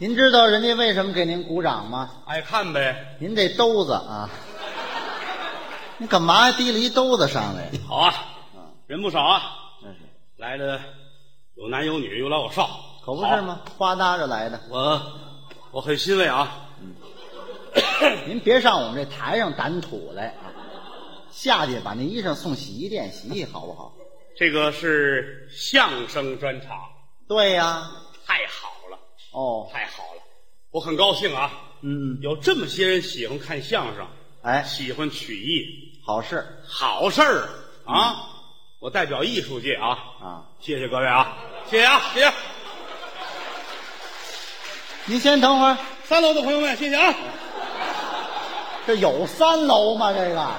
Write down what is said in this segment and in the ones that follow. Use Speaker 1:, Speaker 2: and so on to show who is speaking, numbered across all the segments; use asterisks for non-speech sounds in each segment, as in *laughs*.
Speaker 1: 您知道人家为什么给您鼓掌吗？
Speaker 2: 爱看呗。
Speaker 1: 您这兜子啊，你干嘛提了一兜子上来？
Speaker 2: 好啊，人不少啊，
Speaker 1: 真是，
Speaker 2: 来的有男有女，有老有少，
Speaker 1: 可不是吗？花搭着来的。
Speaker 2: 好？我我很欣慰啊。
Speaker 1: 您别上我们这台上掸土来啊，下去把那衣裳送洗衣店洗洗，好不好？
Speaker 2: *coughs* 这个是相声专场，
Speaker 1: 对呀、
Speaker 2: 太好了，
Speaker 1: 哦，
Speaker 2: 太好了，我很高兴啊。
Speaker 1: 嗯，
Speaker 2: 有这么些人喜欢看相声，
Speaker 1: 哎，
Speaker 2: 喜欢曲艺，
Speaker 1: 好事
Speaker 2: 好事儿啊！
Speaker 1: 嗯
Speaker 2: 我代表艺术界啊，
Speaker 1: 啊！
Speaker 2: 谢谢各位啊，谢谢啊，谢谢
Speaker 1: 您先等会儿，
Speaker 2: 三楼的朋友们，谢谢啊。
Speaker 1: 这有三楼吗？这个啊，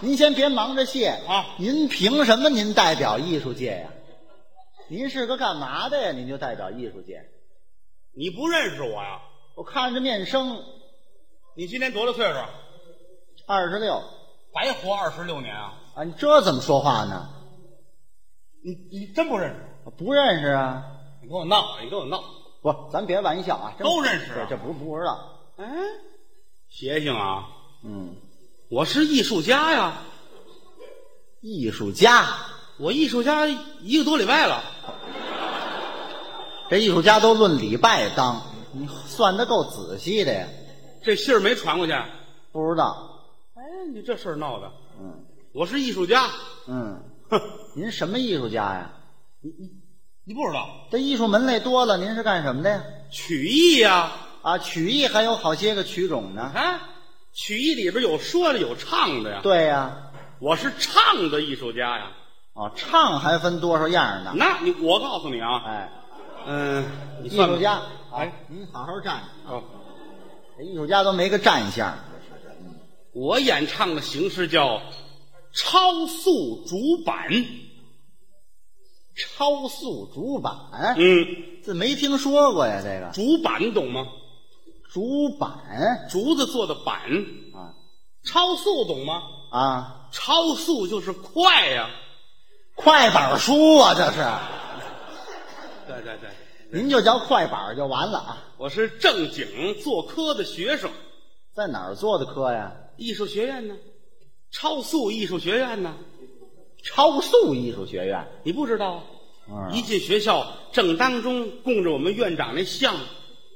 Speaker 1: 您先别忙着谢
Speaker 2: 啊
Speaker 1: 您凭什么您代表艺术界呀、您是个干嘛的呀？您就代表艺术界？
Speaker 2: 你不认识我呀？
Speaker 1: 我看着面生
Speaker 2: 你今年多大岁数？
Speaker 1: 二十六
Speaker 2: 白活二十六年啊！
Speaker 1: 啊，你这怎么说话呢？
Speaker 2: 你你真不认识我？
Speaker 1: 我不认识啊！
Speaker 2: 你跟我闹，你跟我闹。
Speaker 1: 不是，咱别玩笑啊，真
Speaker 2: 都认识啊
Speaker 1: 这这不是不知道。
Speaker 2: 嗯，邪性啊！
Speaker 1: 嗯，
Speaker 2: 我是艺术家呀，
Speaker 1: 艺术家，
Speaker 2: 我艺术家一个多礼拜了。
Speaker 1: 这艺术家都论礼拜当，你算的够仔细的呀。
Speaker 2: 这信儿没传过去。
Speaker 1: 不知道，
Speaker 2: 哎，你这事儿闹的，
Speaker 1: 嗯
Speaker 2: 我是艺术家，
Speaker 1: 嗯，
Speaker 2: 哼，
Speaker 1: 您什么艺术家呀？
Speaker 2: 你不知道
Speaker 1: 这艺术门类多了，您是干什么的呀？
Speaker 2: 曲艺呀、
Speaker 1: 啊，曲艺还有好些个曲种呢。
Speaker 2: 啊，曲艺里边有说的，有唱的呀。
Speaker 1: 对呀、
Speaker 2: 我是唱的艺术家呀。
Speaker 1: 哦，唱还分多少样呢？
Speaker 2: 那你我告诉你啊，
Speaker 1: 哎，
Speaker 2: 嗯、你
Speaker 1: 艺
Speaker 2: 算吧
Speaker 1: 术家，
Speaker 2: 哎，
Speaker 1: 您好好站着，
Speaker 2: 哦，
Speaker 1: 这艺术家都没个站相。
Speaker 2: 我演唱的形式叫超速竹板。
Speaker 1: 超速竹板，
Speaker 2: 嗯，
Speaker 1: 这没听说过呀，这个
Speaker 2: 竹板懂吗？
Speaker 1: 竹板
Speaker 2: 竹子做的板。
Speaker 1: 啊
Speaker 2: 超速懂吗？
Speaker 1: 啊，
Speaker 2: 超速就是快呀、
Speaker 1: 快板书啊，这是，
Speaker 2: 对对对，
Speaker 1: 您就叫快板就完了啊。
Speaker 2: 我是正经做科的学生，
Speaker 1: 在哪儿做的科呀？
Speaker 2: 艺术学院呢，超速艺术学院呢，
Speaker 1: 超速艺术学院。
Speaker 2: 你不知道啊？一
Speaker 1: 一
Speaker 2: 进学校，正当中供着我们院长那像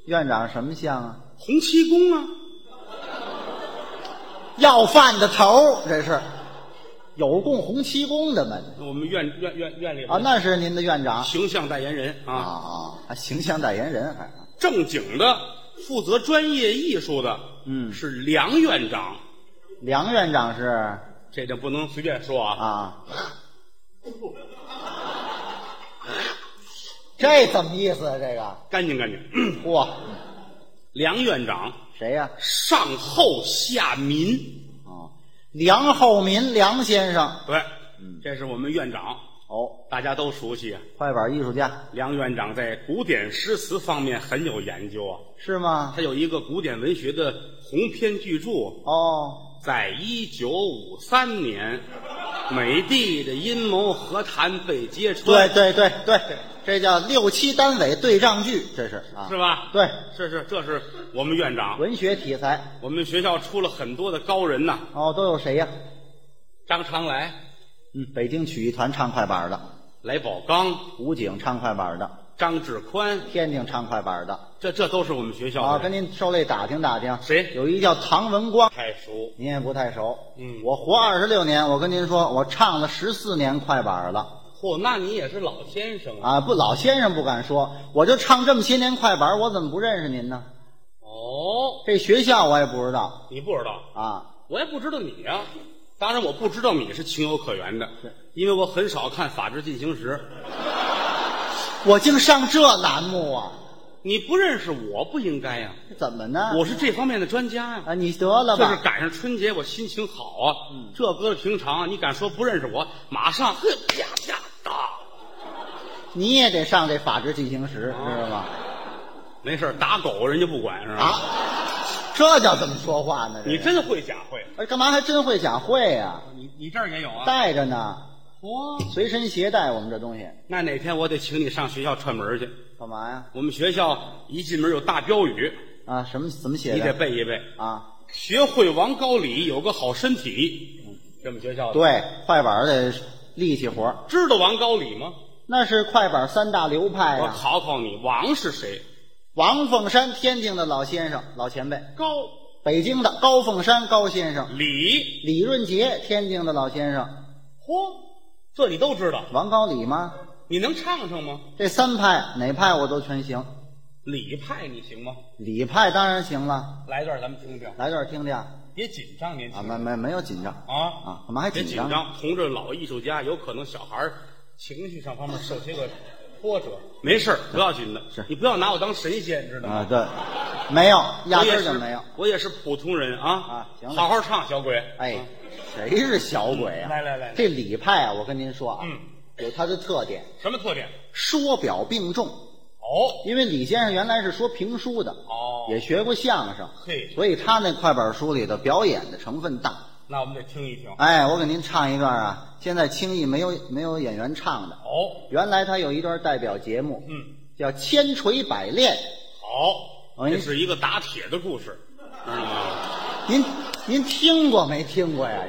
Speaker 1: 院长什么像啊？
Speaker 2: 洪七公啊，
Speaker 1: 要饭的头儿，这是有供洪七公的吗？
Speaker 2: 我们院院院院里边
Speaker 1: 啊，那是您的院长
Speaker 2: 形象代言人
Speaker 1: 啊
Speaker 2: 啊，
Speaker 1: 啊，还形象代言人还啊
Speaker 2: 正经的负责专业艺术的，
Speaker 1: 嗯
Speaker 2: 是梁院长，
Speaker 1: 梁院长是
Speaker 2: 这就不能随便说啊。
Speaker 1: *laughs* 啊，这怎么意思啊？这个
Speaker 2: 干净干净，嗯
Speaker 1: 嚯，
Speaker 2: 梁院长
Speaker 1: 谁呀、
Speaker 2: 上厚下民，
Speaker 1: 哦，梁厚民，梁先生
Speaker 2: 对，
Speaker 1: 嗯
Speaker 2: 这是我们院长，
Speaker 1: 哦，
Speaker 2: 大家都熟悉啊。
Speaker 1: 快板艺术家
Speaker 2: 梁院长在古典诗词方面很有研究啊，
Speaker 1: 是吗？
Speaker 2: 他有一个古典文学的鸿篇巨著，
Speaker 1: 哦，
Speaker 2: 在一九五三年，美帝的阴谋和谈被揭穿，
Speaker 1: 对对对对，这叫六七单位对仗句，这是啊，
Speaker 2: 是吧？
Speaker 1: 对，
Speaker 2: 是是，这是我们院长，
Speaker 1: 文学题材
Speaker 2: 我们学校出了很多的高人呐、
Speaker 1: 哦，都有谁呀、
Speaker 2: 张长来、
Speaker 1: 嗯，北京曲艺团唱快板的，
Speaker 2: 来宝刚、
Speaker 1: 武警唱快板的，
Speaker 2: 张志宽，
Speaker 1: 天津唱快板的。
Speaker 2: 这这都是我们学校
Speaker 1: 啊，
Speaker 2: 的
Speaker 1: 跟
Speaker 2: 人，
Speaker 1: 您受累打听打听。
Speaker 2: 谁
Speaker 1: 有一叫唐文光，
Speaker 2: 太熟。
Speaker 1: 您也不太熟。
Speaker 2: 嗯
Speaker 1: 我活二十六年，我跟您说，我唱了十四年快板了
Speaker 2: 嚯，哦那你也是老先生啊？
Speaker 1: 啊！不，老先生不敢说，我就唱这么些年快板，我怎么不认识您呢？
Speaker 2: 哦，
Speaker 1: 这学校我也不知道
Speaker 2: 你不知道，
Speaker 1: 啊。
Speaker 2: 我也不知道你呀、当然，我不知道你是情有可原的
Speaker 1: 是，
Speaker 2: 因为我很少看《法制进行时》。
Speaker 1: 我竟上这栏目啊？
Speaker 2: 你不认识我不应该呀、
Speaker 1: 怎么呢？
Speaker 2: 我是这方面的专家呀、
Speaker 1: 啊，嗯你得了
Speaker 2: 这是
Speaker 1: 吧，
Speaker 2: 赶上春节，我心情好啊。这搁了平常啊，你敢说不认识我，马上嘿啪啪哒，
Speaker 1: 你也得上这《法制进行时》，知道吗？
Speaker 2: 没事儿打狗人家不管是吧？
Speaker 1: 啊，这叫怎么说话呢？这
Speaker 2: 你
Speaker 1: 个
Speaker 2: 真会假会，
Speaker 1: 哎干嘛还真会讲会呀、
Speaker 2: 你你这儿也有啊？
Speaker 1: 带着呢，
Speaker 2: 嚯！
Speaker 1: 随身携带我们这东西
Speaker 2: 那哪天我得请你上学校串门去。
Speaker 1: 干嘛呀？
Speaker 2: 我们学校一进门有大标语，
Speaker 1: 啊，什么怎么写的？
Speaker 2: 你得背一背。
Speaker 1: 啊，
Speaker 2: 学会王高里，有个好身体。这么学
Speaker 1: 嗯
Speaker 2: 校的，
Speaker 1: 对，快板的力气活儿
Speaker 2: 知道王高里吗？
Speaker 1: 那是快板三大流派
Speaker 2: 我
Speaker 1: 啊。
Speaker 2: 考考你，王是谁？
Speaker 1: 王凤山，天津的老先生、老前辈；
Speaker 2: 高
Speaker 1: 北京的高凤山高先生，
Speaker 2: 李，
Speaker 1: 李润杰，天津的老先生，
Speaker 2: 嚯，这你都知道？
Speaker 1: 王高里吗？
Speaker 2: 你能唱唱吗？
Speaker 1: 这三派哪派我都全行，
Speaker 2: 李派你行吗？
Speaker 1: 李派当然行了。
Speaker 2: 来一段咱们听听，
Speaker 1: 来段听听啊，
Speaker 2: 别紧张，年轻人
Speaker 1: 没没没有紧张
Speaker 2: 啊
Speaker 1: 啊，干嘛还
Speaker 2: 别
Speaker 1: 紧
Speaker 2: 紧
Speaker 1: 张？
Speaker 2: 张，同志老艺术家有可能小孩儿情绪上方面受些个波折，没事儿不要紧的。
Speaker 1: 是
Speaker 2: 你不要拿我当神仙，知道吗？
Speaker 1: 啊，对，没有，压根
Speaker 2: 我也
Speaker 1: 儿
Speaker 2: 是
Speaker 1: 就没有。，
Speaker 2: 我也是普通人啊
Speaker 1: 啊行了
Speaker 2: 好好唱，小鬼。
Speaker 1: 哎，谁是小鬼啊？
Speaker 2: 嗯来来来来
Speaker 1: 这李派啊，我跟您说啊，
Speaker 2: 嗯，
Speaker 1: 有他的特点，
Speaker 2: 什么特点？
Speaker 1: 说表并重。
Speaker 2: 哦
Speaker 1: 因为李先生原来是说评书的，
Speaker 2: 哦，
Speaker 1: 也学过相声，
Speaker 2: 嘿
Speaker 1: 所以他那快板书里的表演的成分大。
Speaker 2: 那我们得听一听。
Speaker 1: 哎，我给您唱一段啊，现在轻易没有没有演员唱的。
Speaker 2: 哦，
Speaker 1: 原来他有一段代表节目，
Speaker 2: 嗯，
Speaker 1: 叫《千锤百炼
Speaker 2: 好，
Speaker 1: 哎
Speaker 2: 这是一个打铁的故事，知道吗？》，
Speaker 1: 您您听过没听过呀？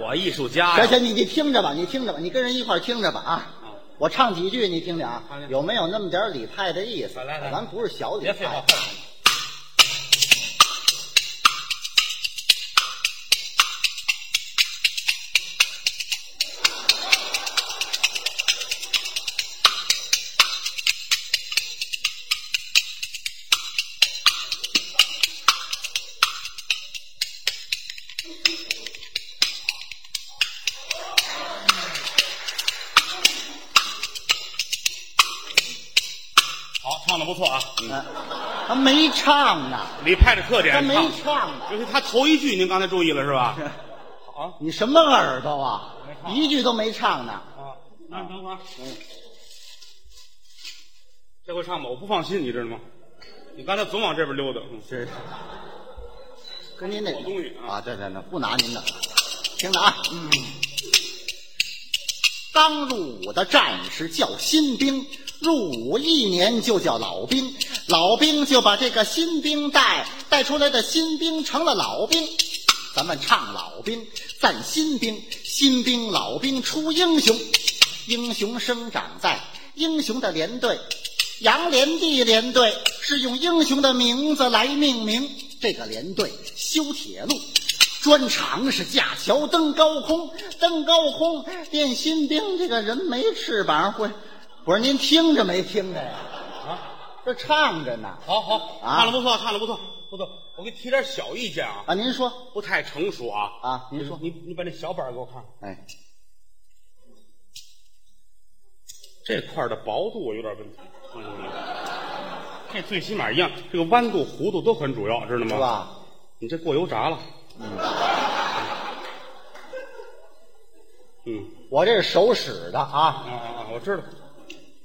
Speaker 2: 我艺术家
Speaker 1: 行
Speaker 2: 呀，
Speaker 1: 行，你你听着吧，你听着吧，你跟人一块儿听着吧啊！我唱几句，你听听啊
Speaker 2: 好嘞，
Speaker 1: 有没有那么点儿李派的意思
Speaker 2: 来来？来
Speaker 1: 咱不是小李
Speaker 2: 别废话，
Speaker 1: 派
Speaker 2: 快，点好，唱的不错啊。嗯，
Speaker 1: 嗯他没唱呢，
Speaker 2: 李派的特点，啊
Speaker 1: 他没
Speaker 2: 唱
Speaker 1: 唱呢，
Speaker 2: 尤其他头一句，您刚才注意了是吧？好啊
Speaker 1: *laughs* 你什么耳朵啊
Speaker 2: 没？唱
Speaker 1: 一句都没唱呢。
Speaker 2: 啊，那等会儿啊，这回唱吧，我不放心，你知道吗？你刚才总往这边溜达，嗯
Speaker 1: 是，跟您那
Speaker 2: 好东西啊
Speaker 1: 啊，对对对，不拿您的，听着啊，嗯。刚入伍的战士叫新兵，入伍一年就叫老兵，老兵就把这个新兵带，带出来的新兵成了老兵。咱们唱老兵，赞新兵，新兵老兵出英雄，英雄生长在英雄的连队，杨连娣连队是用英雄的名字来命名。这个连队修铁路，专长是架桥登高空，登高空练新兵。这个人没翅膀会，不是您听着没听着呀？
Speaker 2: 啊，
Speaker 1: 这唱着呢
Speaker 2: 好好，
Speaker 1: 啊
Speaker 2: 唱的不错，唱的不错，不错。我给你提点小意见啊，
Speaker 1: 啊！您说
Speaker 2: 不太成熟啊。
Speaker 1: 啊，您说，
Speaker 2: 你你把那小板儿给我看，
Speaker 1: 哎，
Speaker 2: 这块儿的薄度我有点问题。嗯，
Speaker 1: *laughs*
Speaker 2: 这最起码一样，这个弯度、弧度都很主要，知道吗？
Speaker 1: 是？吧？
Speaker 2: 你这过油炸了。嗯。嗯
Speaker 1: 我这是手使的啊，
Speaker 2: 啊啊啊！我知道。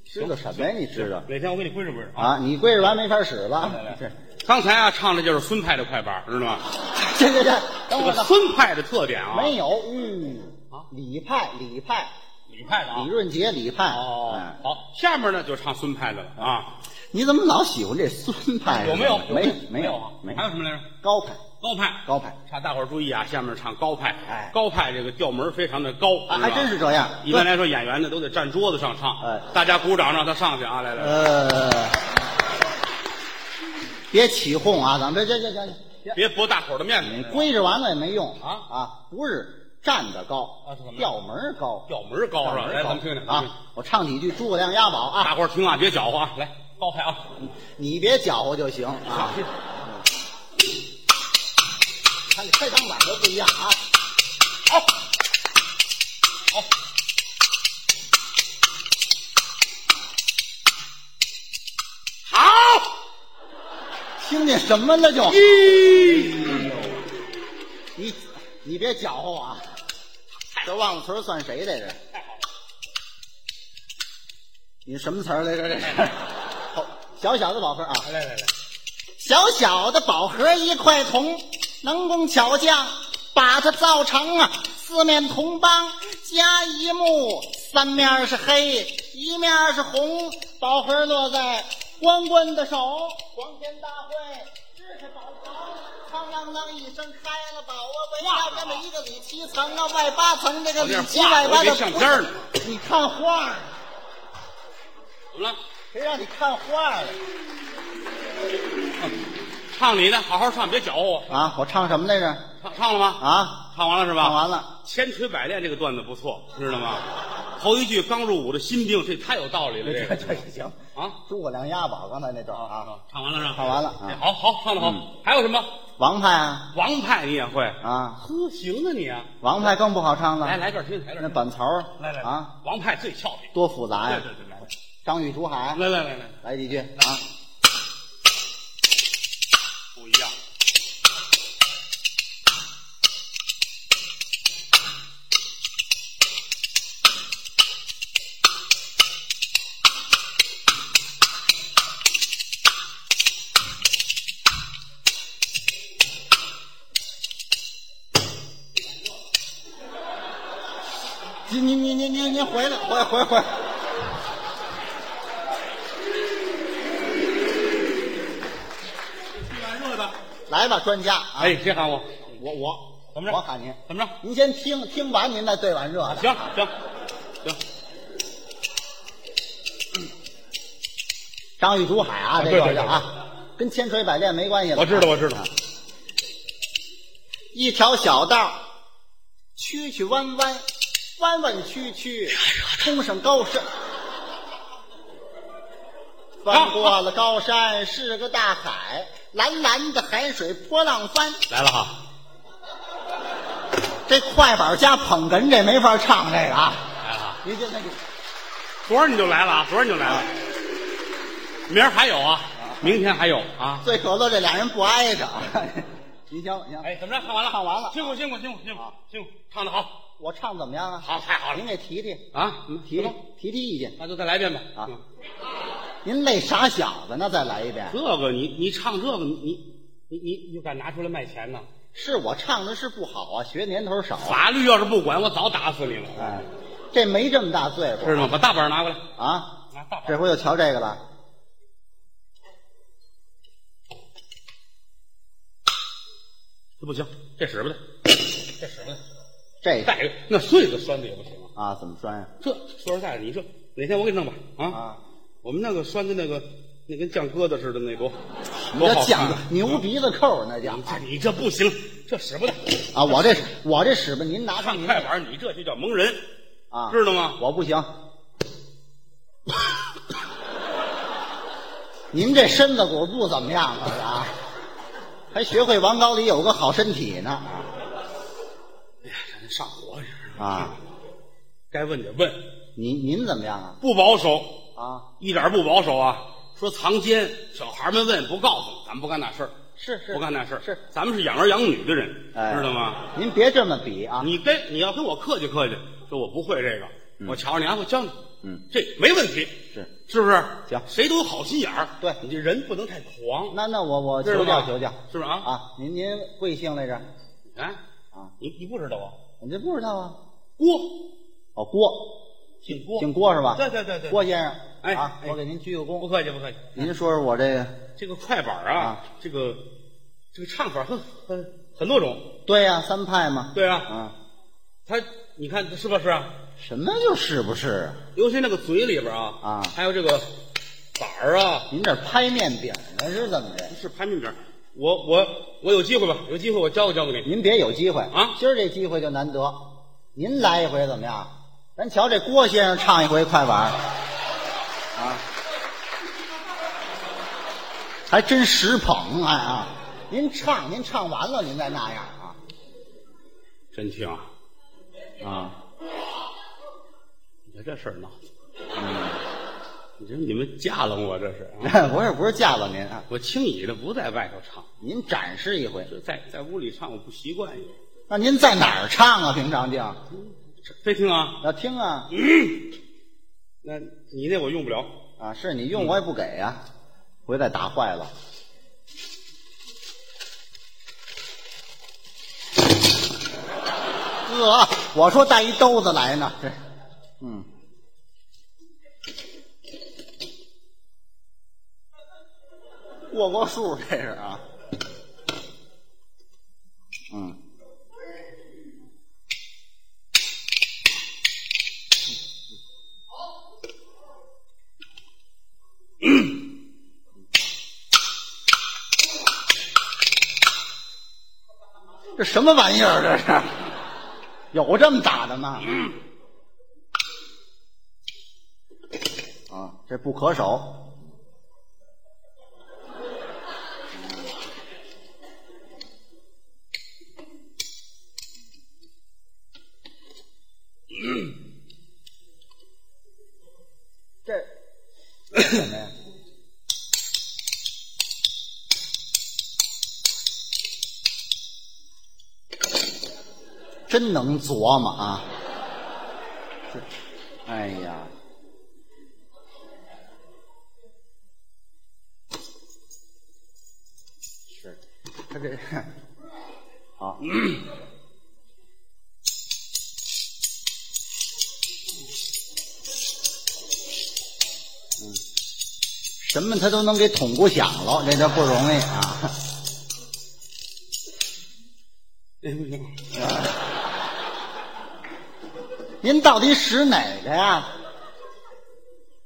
Speaker 1: 知道什么呀？你知道
Speaker 2: 哪天我给你归置归置啊。
Speaker 1: 啊？你跪着完没法使了
Speaker 2: 来来。
Speaker 1: 这
Speaker 2: 刚才啊，唱的就是孙派的快板，知道吗？
Speaker 1: *laughs* 这这这，等
Speaker 2: 这
Speaker 1: 会儿
Speaker 2: 个
Speaker 1: 呢？
Speaker 2: 孙派的特点啊，
Speaker 1: 没有，嗯，李派，李派，
Speaker 2: 李派的啊
Speaker 1: 李。润杰，李派。
Speaker 2: 哦
Speaker 1: 哎，
Speaker 2: 好，下面呢就唱孙派的了啊，
Speaker 1: 你怎么老喜欢这孙派的呢？
Speaker 2: 有没有？
Speaker 1: 哎没
Speaker 2: 没
Speaker 1: 有
Speaker 2: 啊
Speaker 1: 没
Speaker 2: 还有什么来着？
Speaker 1: 高派，
Speaker 2: 高派，
Speaker 1: 高派，
Speaker 2: 唱大伙儿注意啊，下面唱高派，
Speaker 1: 哎
Speaker 2: 高派这个调门非常的高，
Speaker 1: 啊
Speaker 2: 知道
Speaker 1: 还
Speaker 2: 吧
Speaker 1: 真是这样。
Speaker 2: 一般来说，演员呢都得站桌子上唱，
Speaker 1: 哎
Speaker 2: 大家鼓掌让他上去啊！来来，来
Speaker 1: 呃，别起哄啊，咱们这这这这，别
Speaker 2: 别驳大伙儿的面
Speaker 1: 你
Speaker 2: 子，
Speaker 1: 跪着完了也没用
Speaker 2: 啊
Speaker 1: 啊！不是站得高
Speaker 2: 啊是怎么，着
Speaker 1: 调门儿高，
Speaker 2: 调门儿高是吧？来，
Speaker 1: 调
Speaker 2: 咱
Speaker 1: 门
Speaker 2: 们
Speaker 1: 儿
Speaker 2: 听听
Speaker 1: 高啊！！我唱几句诸葛亮押宝啊。
Speaker 2: 大伙儿听啊，别搅和啊！来，高派啊！
Speaker 1: 你别搅和就行啊。看这开场版都不一样啊。
Speaker 2: 好，好，好，
Speaker 1: 听见什么了就？
Speaker 2: 一，
Speaker 1: 你你别搅和我啊！这忘了词儿算谁来着？你什么词儿来着？这是好小小的宝盒啊，
Speaker 2: 来来来，
Speaker 1: 小小的宝盒一块铜，能工巧匠把它造成啊，四面铜帮加一木，三面是黑，一面是红，宝盒落在关关的手。黄天大会，日是宝藏，哐啷啷一声开了宝啊！围绕这么一个里七层啊，外八层，这个里七外八
Speaker 2: 我这
Speaker 1: 的
Speaker 2: 相片儿呢。
Speaker 1: 你看画儿，
Speaker 2: 怎么了？
Speaker 1: 啊谁让你看画儿了
Speaker 2: 唱你的，好好唱，别搅和我。
Speaker 1: 啊？我唱什么来着？
Speaker 2: 唱唱了吗？
Speaker 1: 啊，
Speaker 2: 唱完了是吧？
Speaker 1: 唱完了。
Speaker 2: 千锤百炼这个段子不错，知道吗？头一句刚入伍的新兵，这太有道理了。这个
Speaker 1: 这也行
Speaker 2: 啊，
Speaker 1: 诸葛亮押宝刚才那段儿啊，
Speaker 2: 啊唱完了是吧？
Speaker 1: 唱完了
Speaker 2: 哎
Speaker 1: 啊，
Speaker 2: 好好唱的好。还有什么？
Speaker 1: 王派啊
Speaker 2: 王派你也会？
Speaker 1: 啊，
Speaker 2: 呵，行啊你啊！
Speaker 1: 王派更不好唱了。
Speaker 2: 来来这儿听，来这
Speaker 1: 那
Speaker 2: 儿听。
Speaker 1: 板槽儿
Speaker 2: 来来
Speaker 1: 啊，，
Speaker 2: 王派最俏皮。
Speaker 1: 多复杂
Speaker 2: 对
Speaker 1: 呀！
Speaker 2: 对对，来
Speaker 1: 张玉竹海，
Speaker 2: 来来来来，
Speaker 1: 来几句啊！
Speaker 2: 不一样。
Speaker 1: 您您您您您您回来，回回回！
Speaker 2: 蛮热的。
Speaker 1: 来吧，专家啊！
Speaker 2: 哎，谁喊我？我我怎么着？
Speaker 1: 我喊您，
Speaker 2: 怎么着？啊
Speaker 1: 您先听听完，您再对碗热的。
Speaker 2: 行行行，
Speaker 1: 张玉竹海啊，
Speaker 2: 啊
Speaker 1: 这
Speaker 2: 对
Speaker 1: 个是
Speaker 2: 对对
Speaker 1: 啊，跟千锤百炼没关系了。
Speaker 2: 我知道，我知道。
Speaker 1: 一条小道，曲曲弯弯，弯弯曲曲，冲上高山。翻过了高山，是个大海，蓝蓝的海水波浪翻。
Speaker 2: 来了哈。
Speaker 1: 这快板加捧哏，这没法唱这个啊！
Speaker 2: 来了哈，
Speaker 1: 你这那个
Speaker 2: 昨儿你就来了啊，昨儿你就来了，明儿还有啊，明天还有啊。
Speaker 1: 最可乐，这俩人不挨着。 *laughs* 你行行，
Speaker 2: 哎，怎么着？唱完了，
Speaker 1: 唱完了
Speaker 2: 辛苦辛苦辛苦辛苦辛苦，唱的好，
Speaker 1: 我唱怎么样啊？
Speaker 2: 好，太好
Speaker 1: 您
Speaker 2: 了
Speaker 1: 给提提
Speaker 2: 啊！
Speaker 1: 提提
Speaker 2: 什么
Speaker 1: 提提意见。
Speaker 2: 那就再来一遍吧
Speaker 1: 啊
Speaker 2: 嗯
Speaker 1: 您累傻小子呢？再来一遍。
Speaker 2: 这个你你唱这个你你你你就敢拿出来卖钱呢？
Speaker 1: 是我唱的是不好啊，学年头少。
Speaker 2: 法律要是不管，我早打死你了，
Speaker 1: 哎，这没这么大岁数
Speaker 2: 知道吗？把大本儿拿过来，
Speaker 1: 啊！
Speaker 2: 拿大本儿。
Speaker 1: 这回又瞧这个了。
Speaker 2: 这不行，这使不得，这使不得。
Speaker 1: 这个
Speaker 2: 再一个，那穗子拴的也不行啊。
Speaker 1: 啊，怎么拴呀？
Speaker 2: 这说实在的，你说哪天我给你弄吧啊
Speaker 1: 啊，
Speaker 2: 我们那个拴的那个，那跟酱疙瘩似的那多，
Speaker 1: 你
Speaker 2: 多好
Speaker 1: 这
Speaker 2: 看
Speaker 1: 讲
Speaker 2: 啊嗯
Speaker 1: 牛鼻子扣儿那叫
Speaker 2: 你这哎你这不行，这使不得。
Speaker 1: 啊！我这我这使吧，您拿上
Speaker 2: 唱
Speaker 1: 您
Speaker 2: 快板，你这就叫蒙人，
Speaker 1: 啊，
Speaker 2: 知道吗？
Speaker 1: 我不行。您这身子骨不怎么样了啊，还学会王高里有个好身体呢哎
Speaker 2: 上火去是吧
Speaker 1: 啊！
Speaker 2: 该问得问，
Speaker 1: 您您怎么样啊？
Speaker 2: 不保守，
Speaker 1: 啊，
Speaker 2: 一点不保守啊！说藏奸，小孩们问不告诉，咱们不干那事儿，
Speaker 1: 是是
Speaker 2: 不干那事儿。
Speaker 1: 是，
Speaker 2: 咱们是养儿养女的人，
Speaker 1: 哎
Speaker 2: 知道吗？？
Speaker 1: 您别这么比啊！
Speaker 2: 你跟你要跟我客气客气，说我不会这个，我瞧着你啊，我教你，
Speaker 1: 嗯，
Speaker 2: 这没问题，
Speaker 1: 是
Speaker 2: 是不是？
Speaker 1: 行
Speaker 2: 谁都有好心眼儿，
Speaker 1: 对
Speaker 2: 你这人不能太狂，
Speaker 1: 那那我我
Speaker 2: 知道
Speaker 1: 求
Speaker 2: 吗
Speaker 1: 教求教
Speaker 2: 是不是啊？
Speaker 1: 啊！您您贵姓来着？
Speaker 2: 啊
Speaker 1: 啊，
Speaker 2: 你你不知道啊？
Speaker 1: 你这不知道啊？
Speaker 2: 郭，
Speaker 1: 哦，郭，
Speaker 2: 姓郭，
Speaker 1: 姓啊郭是吧？
Speaker 2: 对对对对
Speaker 1: 郭先生，
Speaker 2: 哎
Speaker 1: 啊，
Speaker 2: 哎
Speaker 1: 我给您鞠个
Speaker 2: 不
Speaker 1: 躬。
Speaker 2: 客气不客气。
Speaker 1: 您说说我这个，
Speaker 2: 这个快板啊，
Speaker 1: 啊
Speaker 2: 这个这个唱法很很很多种，
Speaker 1: 对呀，三派嘛。
Speaker 2: 对啊，
Speaker 1: 啊，
Speaker 2: 他你看是不是啊？
Speaker 1: 什么就是不是啊？
Speaker 2: 尤其那个嘴里边啊，
Speaker 1: 啊
Speaker 2: 还有这个板儿啊，
Speaker 1: 您这拍面饼呢是怎么着
Speaker 2: 不？是拍面饼儿。我我我有机会吧，有机会我教给教给你。
Speaker 1: 您别有机会
Speaker 2: 啊
Speaker 1: 今儿这机会就难得，您来一回怎么样？咱瞧这郭先生唱一回快板儿，啊，还真实捧哎啊！您唱，您唱完了，您再那样啊
Speaker 2: 真听啊，
Speaker 1: 啊！ *laughs*
Speaker 2: 你看这事儿闹的，你这你们架了我这是啊、
Speaker 1: 不是不是架子您啊，
Speaker 2: 我轻易的不在外头唱，
Speaker 1: 您展示一回。
Speaker 2: 就在在屋里唱我不习惯。
Speaker 1: 那您在哪儿唱啊？平常净
Speaker 2: 别听啊，
Speaker 1: 要听啊
Speaker 2: 那你那我用不了。 *laughs*
Speaker 1: 啊！是你用我也不给呀、回来打坏了。呵，呃我说带一兜子来呢，这，嗯，过过数这是啊，嗯，这什么玩意儿这是？有这么打的吗？啊，这不可手。这这什么呀？真能琢磨啊！这，哎呀，是他这好，嗯什么他都能给捅咕响了，这都不容易啊！
Speaker 2: 哎不行，
Speaker 1: 您到底使哪个呀？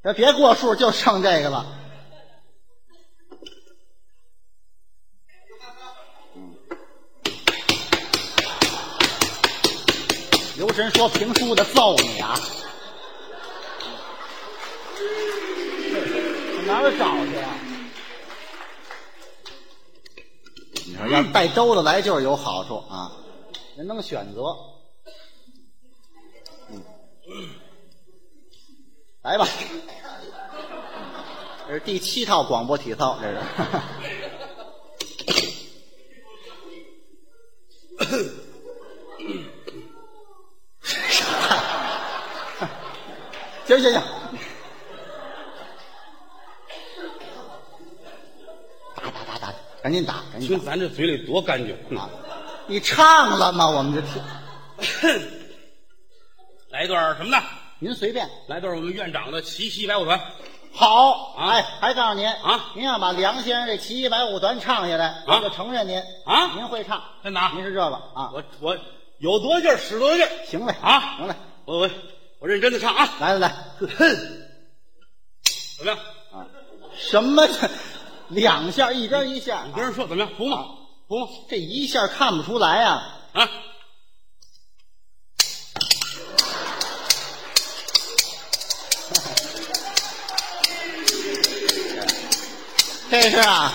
Speaker 1: 这别过数，就剩这个了。嗯留神说评书的揍你啊！我哪儿找去啊？
Speaker 2: 你看
Speaker 1: 要
Speaker 2: 让
Speaker 1: 带兜子来就是有好处啊，人能选择。嗯，来吧，这是第七套广播体操，这是。行行行，打打打打，赶紧打，赶紧打
Speaker 2: 听咱这嘴里多干净
Speaker 1: 啊！你唱了吗？我们就听，
Speaker 2: *coughs* 来一段什么呢？
Speaker 1: 您随便。
Speaker 2: 来段我们院长的奇袭白虎团。
Speaker 1: 好，
Speaker 2: 啊
Speaker 1: 哎，还告诉您
Speaker 2: 啊
Speaker 1: 您要把梁先生这《骑一百舞团》唱下来，我就承认您
Speaker 2: 啊
Speaker 1: 您会唱，
Speaker 2: 真的啊
Speaker 1: 您是这个啊？
Speaker 2: 我我有多劲儿使多劲儿，
Speaker 1: 行嘞
Speaker 2: 啊
Speaker 1: 行嘞，
Speaker 2: 我我我认真的唱啊！
Speaker 1: 来来来，
Speaker 2: 怎么样？
Speaker 1: 啊，什么这两下一边一下
Speaker 2: 你，跟人说怎么样？服
Speaker 1: 啊
Speaker 2: 吗？服吗？
Speaker 1: 这一下看不出来啊，
Speaker 2: 啊！
Speaker 1: 这是啊，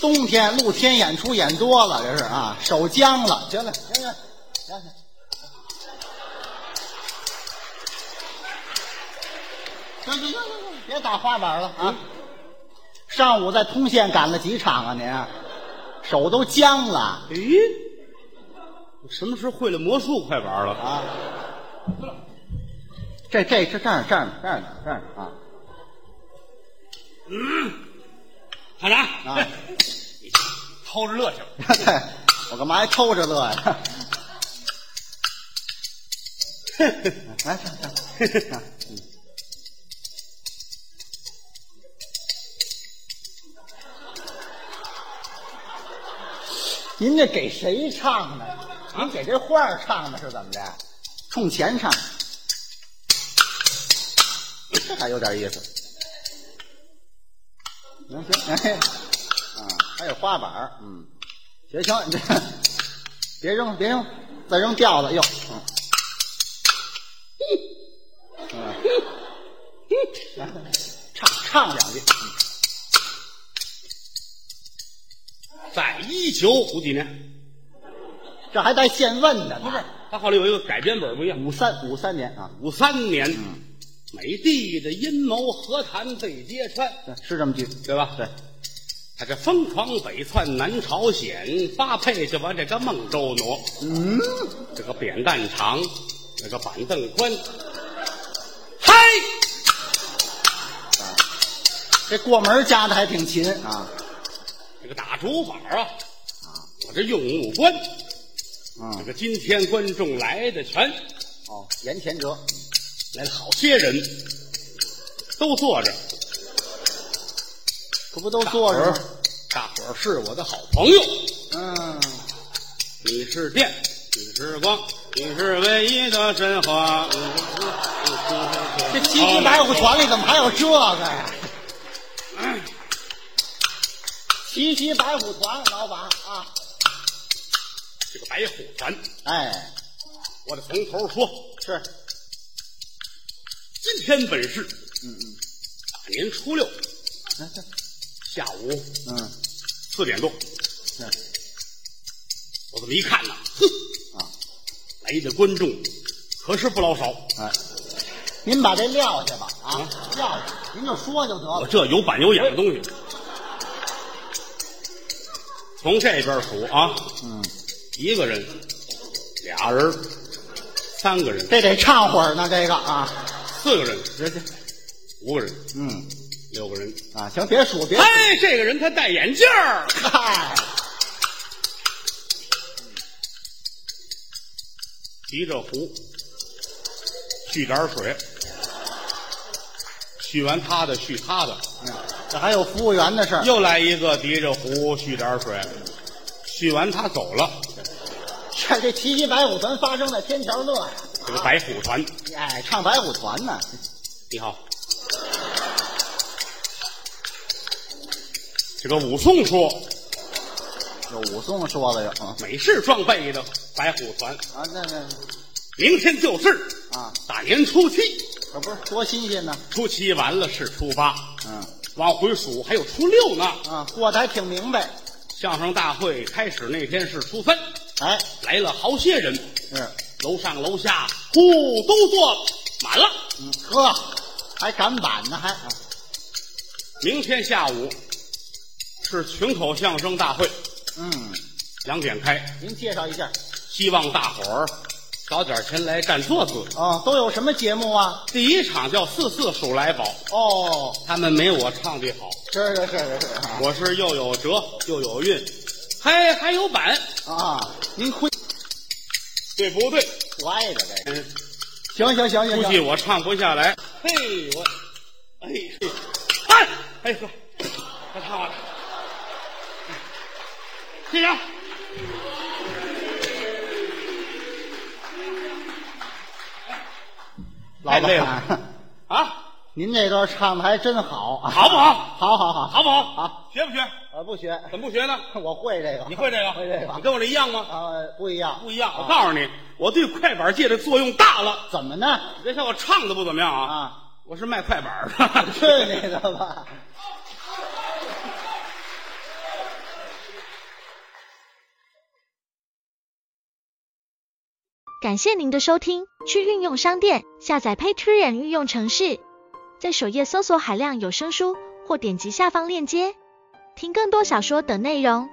Speaker 1: 冬天露天演出演多了，这是啊，手僵了，行了行了行了，行行行行行，别打花板了啊！上午在通县赶了几场啊您？手都僵了
Speaker 2: 咦，哎我什么时候会了魔术快板了？
Speaker 1: 啊！这这这这样这样这样这样啊！
Speaker 2: 看着啊
Speaker 1: 啊，
Speaker 2: 偷着乐去。
Speaker 1: 我干嘛还偷着乐呀？来，唱唱。您这给谁唱呢？您给这画儿唱的是怎么着？冲钱唱，这还有点意思。能行，哎，啊，还有花板儿嗯，行行，你这别扔，别扔，再扔掉了，哟，嗯，嗯唱唱两句，
Speaker 2: 在一九五几年，
Speaker 1: 这还带现问的呢，
Speaker 2: 不是他后来有一个改编本不一样，
Speaker 1: 五三五三年啊，
Speaker 2: 五三年，美帝的阴谋和谈被揭穿，
Speaker 1: 对是这么句，
Speaker 2: 对吧？对，他这疯狂北窜南朝鲜，发配就把这个孟州挪，
Speaker 1: 嗯，
Speaker 2: 这个扁担长，这个板凳宽，嗨，
Speaker 1: 这过门加的还挺勤啊，
Speaker 2: 这个打竹板啊，我这用武官，
Speaker 1: 嗯
Speaker 2: 这个今天观众来的全
Speaker 1: 哦，盐田哲，
Speaker 2: 来了好些人，都坐着，
Speaker 1: 这不都坐着
Speaker 2: 大
Speaker 1: 吗
Speaker 2: 伙？
Speaker 1: 大伙儿是我的好朋
Speaker 2: 朋友，
Speaker 1: 友。嗯，
Speaker 2: 你是电，你是光，你是唯一的神话。嗯
Speaker 1: 这七七白虎团里怎么还有这个呀？七七白虎团老板啊，
Speaker 2: 这个白虎团，
Speaker 1: 哎，
Speaker 2: 我得从头说，
Speaker 1: 是，
Speaker 2: 今天本是
Speaker 1: 嗯嗯
Speaker 2: 大年初六
Speaker 1: 嗯
Speaker 2: 下午
Speaker 1: 嗯
Speaker 2: 四点多，
Speaker 1: 是
Speaker 2: 我这么一看呐，哼
Speaker 1: 啊，
Speaker 2: 来的观众可是不老少。
Speaker 1: 哎，您把这撂下吧啊，撂下，您就说就得
Speaker 2: 我
Speaker 1: 了。
Speaker 2: 哦这有板有眼的东西，从这边数啊，
Speaker 1: 嗯，
Speaker 2: 一个人，俩人，三个人，
Speaker 1: 这得唱会儿呢，这个啊，
Speaker 2: 四个人，
Speaker 1: 人家，
Speaker 2: 五个人，
Speaker 1: 嗯
Speaker 2: 六个人。
Speaker 1: 啊，行，别数别数，
Speaker 2: 哎，这个人他戴眼镜儿，
Speaker 1: 嗨，
Speaker 2: 提着壶，续点儿水，续完他的，续他的。
Speaker 1: 嗯这还有服务员的事儿。
Speaker 2: 又来一个提着壶续点水，续完他走了。
Speaker 1: 这这七七白虎团发生在天桥乐呀、
Speaker 2: 这个白虎团，
Speaker 1: 哎，唱白虎团呢。
Speaker 2: 你好。这个武松说，
Speaker 1: 有武松说的有啊，
Speaker 2: 美式装备的白虎团，
Speaker 1: 啊，那那
Speaker 2: 明天就是
Speaker 1: 啊，
Speaker 2: 大年初七，
Speaker 1: 可不是多新鲜呢。
Speaker 2: 初七完了是初八，
Speaker 1: 嗯
Speaker 2: 往回数还有初六呢。
Speaker 1: 啊，过得还挺明白。
Speaker 2: 相声大会开始那天是初三，
Speaker 1: 哎，
Speaker 2: 来了好些人，
Speaker 1: 是，
Speaker 2: 楼上楼下呼都坐满了。
Speaker 1: 嗯，呵，还赶板呢，还啊
Speaker 2: 明天下午是群口相声大会，
Speaker 1: 嗯，
Speaker 2: 两点开，
Speaker 1: 您介绍一下
Speaker 2: 希望大伙儿早点前来占座子。
Speaker 1: 哦，都有什么节目啊？
Speaker 2: 第一场叫“四四数来宝
Speaker 1: 哦，”，
Speaker 2: 他们没我唱的好，
Speaker 1: 是是是是是啊
Speaker 2: 我是又有辙又有韵，还还有板，
Speaker 1: 啊，您亏
Speaker 2: 对不对？
Speaker 1: 坏的这个。
Speaker 2: 嗯，
Speaker 1: 行行行行
Speaker 2: 估计
Speaker 1: 行，
Speaker 2: 我唱不下来。嘿，我，哎呀，哎，哎哥，别唱我啊了，谢啊谢。
Speaker 1: 老
Speaker 2: 太累
Speaker 1: 板，
Speaker 2: *laughs* 啊，
Speaker 1: 您这段唱的还真好啊，
Speaker 2: 好不好？
Speaker 1: 好好好，
Speaker 2: 好不好？
Speaker 1: 好，
Speaker 2: 学不学？
Speaker 1: 我呃不学，
Speaker 2: 怎么不学呢？
Speaker 1: 我会这个，
Speaker 2: 你会这个？
Speaker 1: 会这
Speaker 2: 你
Speaker 1: 个
Speaker 2: 跟我这一样吗？
Speaker 1: 啊？不一样，
Speaker 2: 不一样。我
Speaker 1: 啊
Speaker 2: 告诉你，我对快板界的作用大了。
Speaker 1: 怎么呢？
Speaker 2: 你别看我唱的不怎么样啊，
Speaker 1: 啊，
Speaker 2: 我是卖快板的。
Speaker 1: 去你的吧！
Speaker 3: 感谢您的收听，去运用商店下载 Patreon 运用城市，在首页搜索海量有声书，或点击下方链接听更多小说等内容。